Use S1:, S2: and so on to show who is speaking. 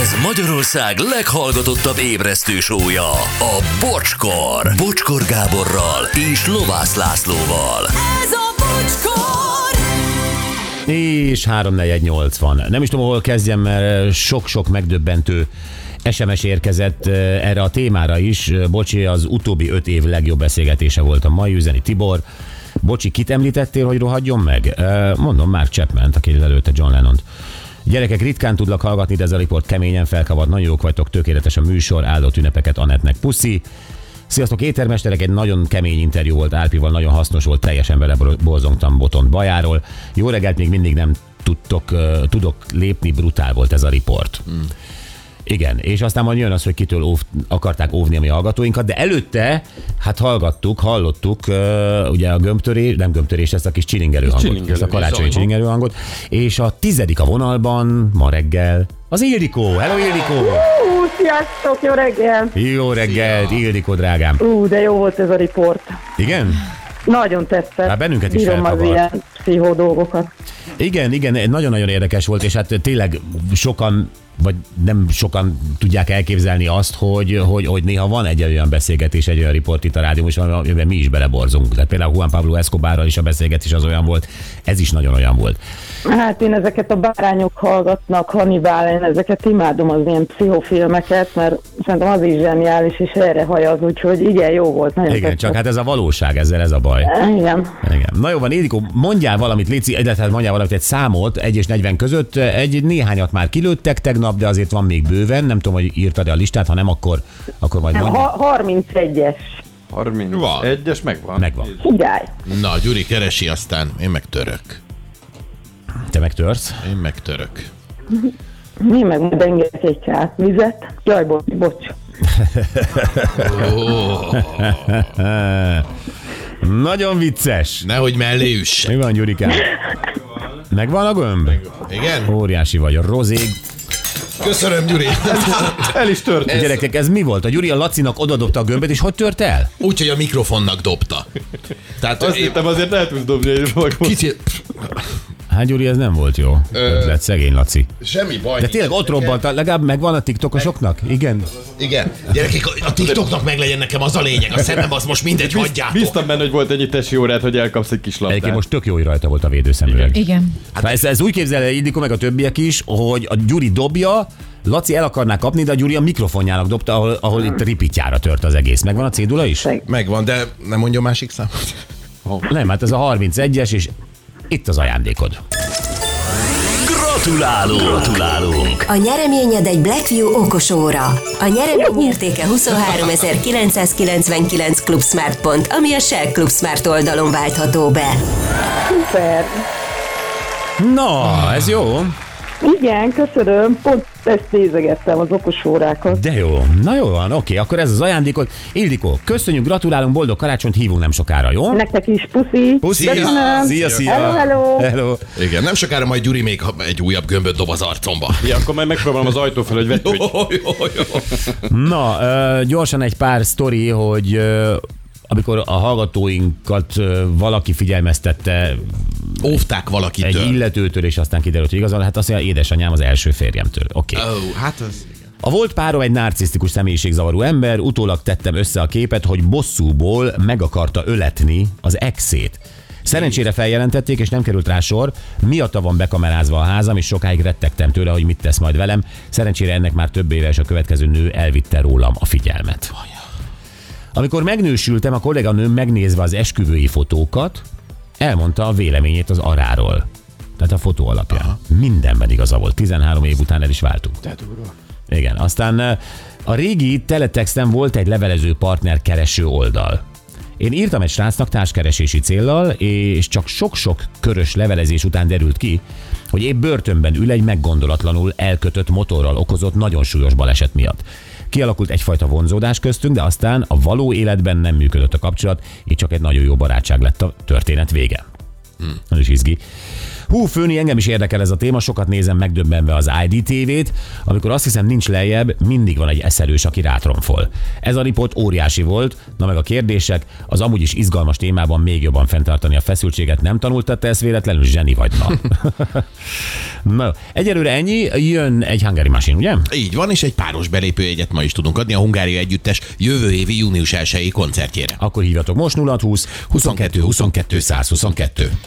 S1: Ez Magyarország leghallgatottabb ébresztő sója, a Bocskor. Bocskor Gáborral és Lovász Lászlóval.
S2: Ez a bocskor!
S3: És 3480. Nem is tudom, hol kezdjem, mert sok-sok megdöbbentő SMS érkezett eh, erre a témára is. Eh, Bocsi, az utóbbi öt év legjobb beszélgetése volt a mai üzeni Tibor. Bocsi, kit említettél, hogy rohadjon meg? Eh, Mondom, már Chapman, aki lelőtte John Lennont. Gyerekek, ritkán tudlak hallgatni, de ez a riport keményen felkavar. Nagyon jók vagytok, tökéletes a műsor, áldott ünnepeket Anetnek. Puszi! Sziasztok, éttermesterek, egy nagyon kemény interjú volt Árpival, nagyon hasznos volt, teljesen vele bor- borzongtam Botont bajáról. Jó reggelt, még mindig nem tudtok, ö, tudok lépni, brutál volt ez a riport. Igen, és aztán majd jön az, hogy kitől óv, akarták óvni a mi hallgatóinkat, de előtte, hát hallgattuk, hallottuk, ö, ugye a gömbtörés, nem gömbtörés, ezt a kis csilingerő hangot,
S4: csilingelő,
S3: ezt a karácsonyi
S4: zajhang.
S3: csilingerő hangot, és a tizedik a vonalban, ma reggel, az Ildikó, hello Ildikó!
S5: Hú, sziasztok, jó reggel!
S3: Jó reggelt, Ildikó drágám!
S5: Ú, de jó volt ez a riport.
S3: Igen?
S5: Nagyon tetszett.
S3: Hát bennünket is
S5: Bírom az
S3: felkavart.
S5: ilyen pszichó dolgokat.
S3: Igen, igen, nagyon-nagyon érdekes volt, és hát tényleg sokan, vagy nem sokan tudják elképzelni azt, hogy, hogy, hogy néha van egy olyan beszélgetés, egy olyan riport itt a rádió, és amiben mi is beleborzunk. Tehát például Juan Pablo Escobarral is a beszélgetés az olyan volt, ez is nagyon olyan volt.
S5: Hát én ezeket a bárányok hallgatnak, Hannibal, én ezeket imádom az ilyen pszichofilmeket, mert szerintem az is zseniális, és erre hajaz, úgyhogy igen, jó volt. Nagyon
S3: Igen,
S5: tetszett.
S3: csak hát ez a valóság, ezzel ez a baj.
S5: Igen.
S3: Igen. Na jó van, Édikó, mondjál valamit, Léci, illetve mondjál valamit, egy számot, 1 és 40 között, egy néhányat már kilőttek tegnap, de azért van még bőven, nem tudom, hogy írtad a listát, ha nem, akkor, akkor majd mondjál.
S5: Ha, 31-es.
S4: 31-es megvan.
S3: Megvan.
S5: Király.
S6: Na, Gyuri keresi, aztán én meg török.
S3: Te megtörsz?
S6: Én meg török.
S5: Mi meg majd engedek egy kát vizet. Jaj, bocs, bocs.
S3: Nagyon vicces.
S6: Nehogy mellé üss.
S3: Mi van, Gyurikám? Megvan a gömb?
S6: Igen?
S3: Óriási vagy a rozég.
S6: Köszönöm, Gyuri.
S4: El is történt.
S3: Gyerekek, ez mi volt? A Gyuri a Lacinak odadobta a gömböt, és hogy tört el?
S6: Úgyhogy a mikrofonnak dobta. Tehát
S4: Azt
S6: én-
S4: hittem azért el tudsz dobni egy magot.
S6: kicsi...
S3: Hát Gyuri, ez nem volt jó.
S6: Ö.
S3: Ötlet, szegény Laci.
S6: Semmi baj.
S3: De tényleg ott robbant, legalább megvan a tiktokosoknak? Igen.
S6: Igen. Gyerekek, a- a TikToknak meg legyen nekem az a lényeg. A szemem az most mindegy, hagyjátok.
S4: Bíztam benne, hogy volt ennyi tesi órát, hogy elkapsz egy kis labdát.
S3: Egyébként most tök jó hogy rajta volt a védőszemüveg.
S2: Igen.
S3: Hát ez, ez úgy képzel el Ildikó, meg a többiek is, hogy a Gyuri dobja, Laci el akarná kapni, de a Gyuri a mikrofonjának dobta, ahol, ahol itt ripityára tört az egész. Megvan a cédula is?
S6: Megvan, de nem mondja másik számot.
S3: Nem, hát ez a 31-es, és itt az ajándékod.
S1: Gratulálunk! Gratulálunk!
S7: A nyereményed egy Blackview okos óra. A nyeremény értéke 23999 Club Smart pont, ami a Shell Club Smart oldalon váltható be.
S5: Szuper.
S3: Na, ez jó.
S5: Igen, köszönöm. Pont ezt nézegettem az okos órákat.
S3: De jó. Na jó van, oké, akkor ez az ajándékod. Ildikó, köszönjük, gratulálunk, boldog karácsonyt hívunk nem sokára, jó?
S5: Nektek is puszi.
S3: Puszi.
S5: Köszönöm.
S3: Szia, szia.
S5: Hello, hello.
S3: Hello.
S6: Igen, nem sokára majd Gyuri még ha- egy újabb gömböt dob az arcomba.
S4: Ja, akkor majd megpróbálom az ajtó fel, hogy vetődj.
S3: Na, ö, gyorsan egy pár sztori, hogy ö, amikor a hallgatóinkat ö, valaki figyelmeztette
S6: Óvták
S3: egy
S6: valakitől.
S3: illetőtől, és aztán kiderült, hogy igazán, hát azt mondja, édesanyám az első férjemtől. Oké. Okay.
S6: Ó, hát az...
S3: A volt párom egy narcisztikus személyiségzavarú ember, utólag tettem össze a képet, hogy bosszúból meg akarta öletni az exét. Szerencsére feljelentették, és nem került rá sor. Miatta van bekamerázva a házam, és sokáig rettegtem tőle, hogy mit tesz majd velem. Szerencsére ennek már több éve, és a következő nő elvitte rólam a figyelmet. Amikor megnősültem, a kolléganőm megnézve az esküvői fotókat, elmondta a véleményét az aráról. Tehát a fotó alapján. Aha. Mindenben igaza volt. 13 év után el is váltunk. Igen, aztán ö, a régi teletexten volt egy levelező partner kereső oldal. Én írtam egy srácnak társkeresési céllal, és csak sok-sok körös levelezés után derült ki, hogy épp börtönben ül egy meggondolatlanul elkötött motorral okozott nagyon súlyos baleset miatt. Kialakult egyfajta vonzódás köztünk, de aztán a való életben nem működött a kapcsolat, így csak egy nagyon jó barátság lett a történet vége. Hmm. Az is izgi. Hú, főni, engem is érdekel ez a téma, sokat nézem megdöbbenve az IDTV-t, amikor azt hiszem nincs lejjebb, mindig van egy eszerős, aki rátromfol. Ez a riport óriási volt, na meg a kérdések, az amúgy is izgalmas témában még jobban fenntartani a feszültséget, nem tanultad te ezt véletlenül, zseni vagy na. na, jó. egyelőre ennyi, jön egy Hungary Machine, ugye?
S6: Így van, és egy páros belépőjegyet ma is tudunk adni a Hungária Együttes jövő évi június 1 koncertjére.
S3: Akkor hívjatok most 0620 22 22 122.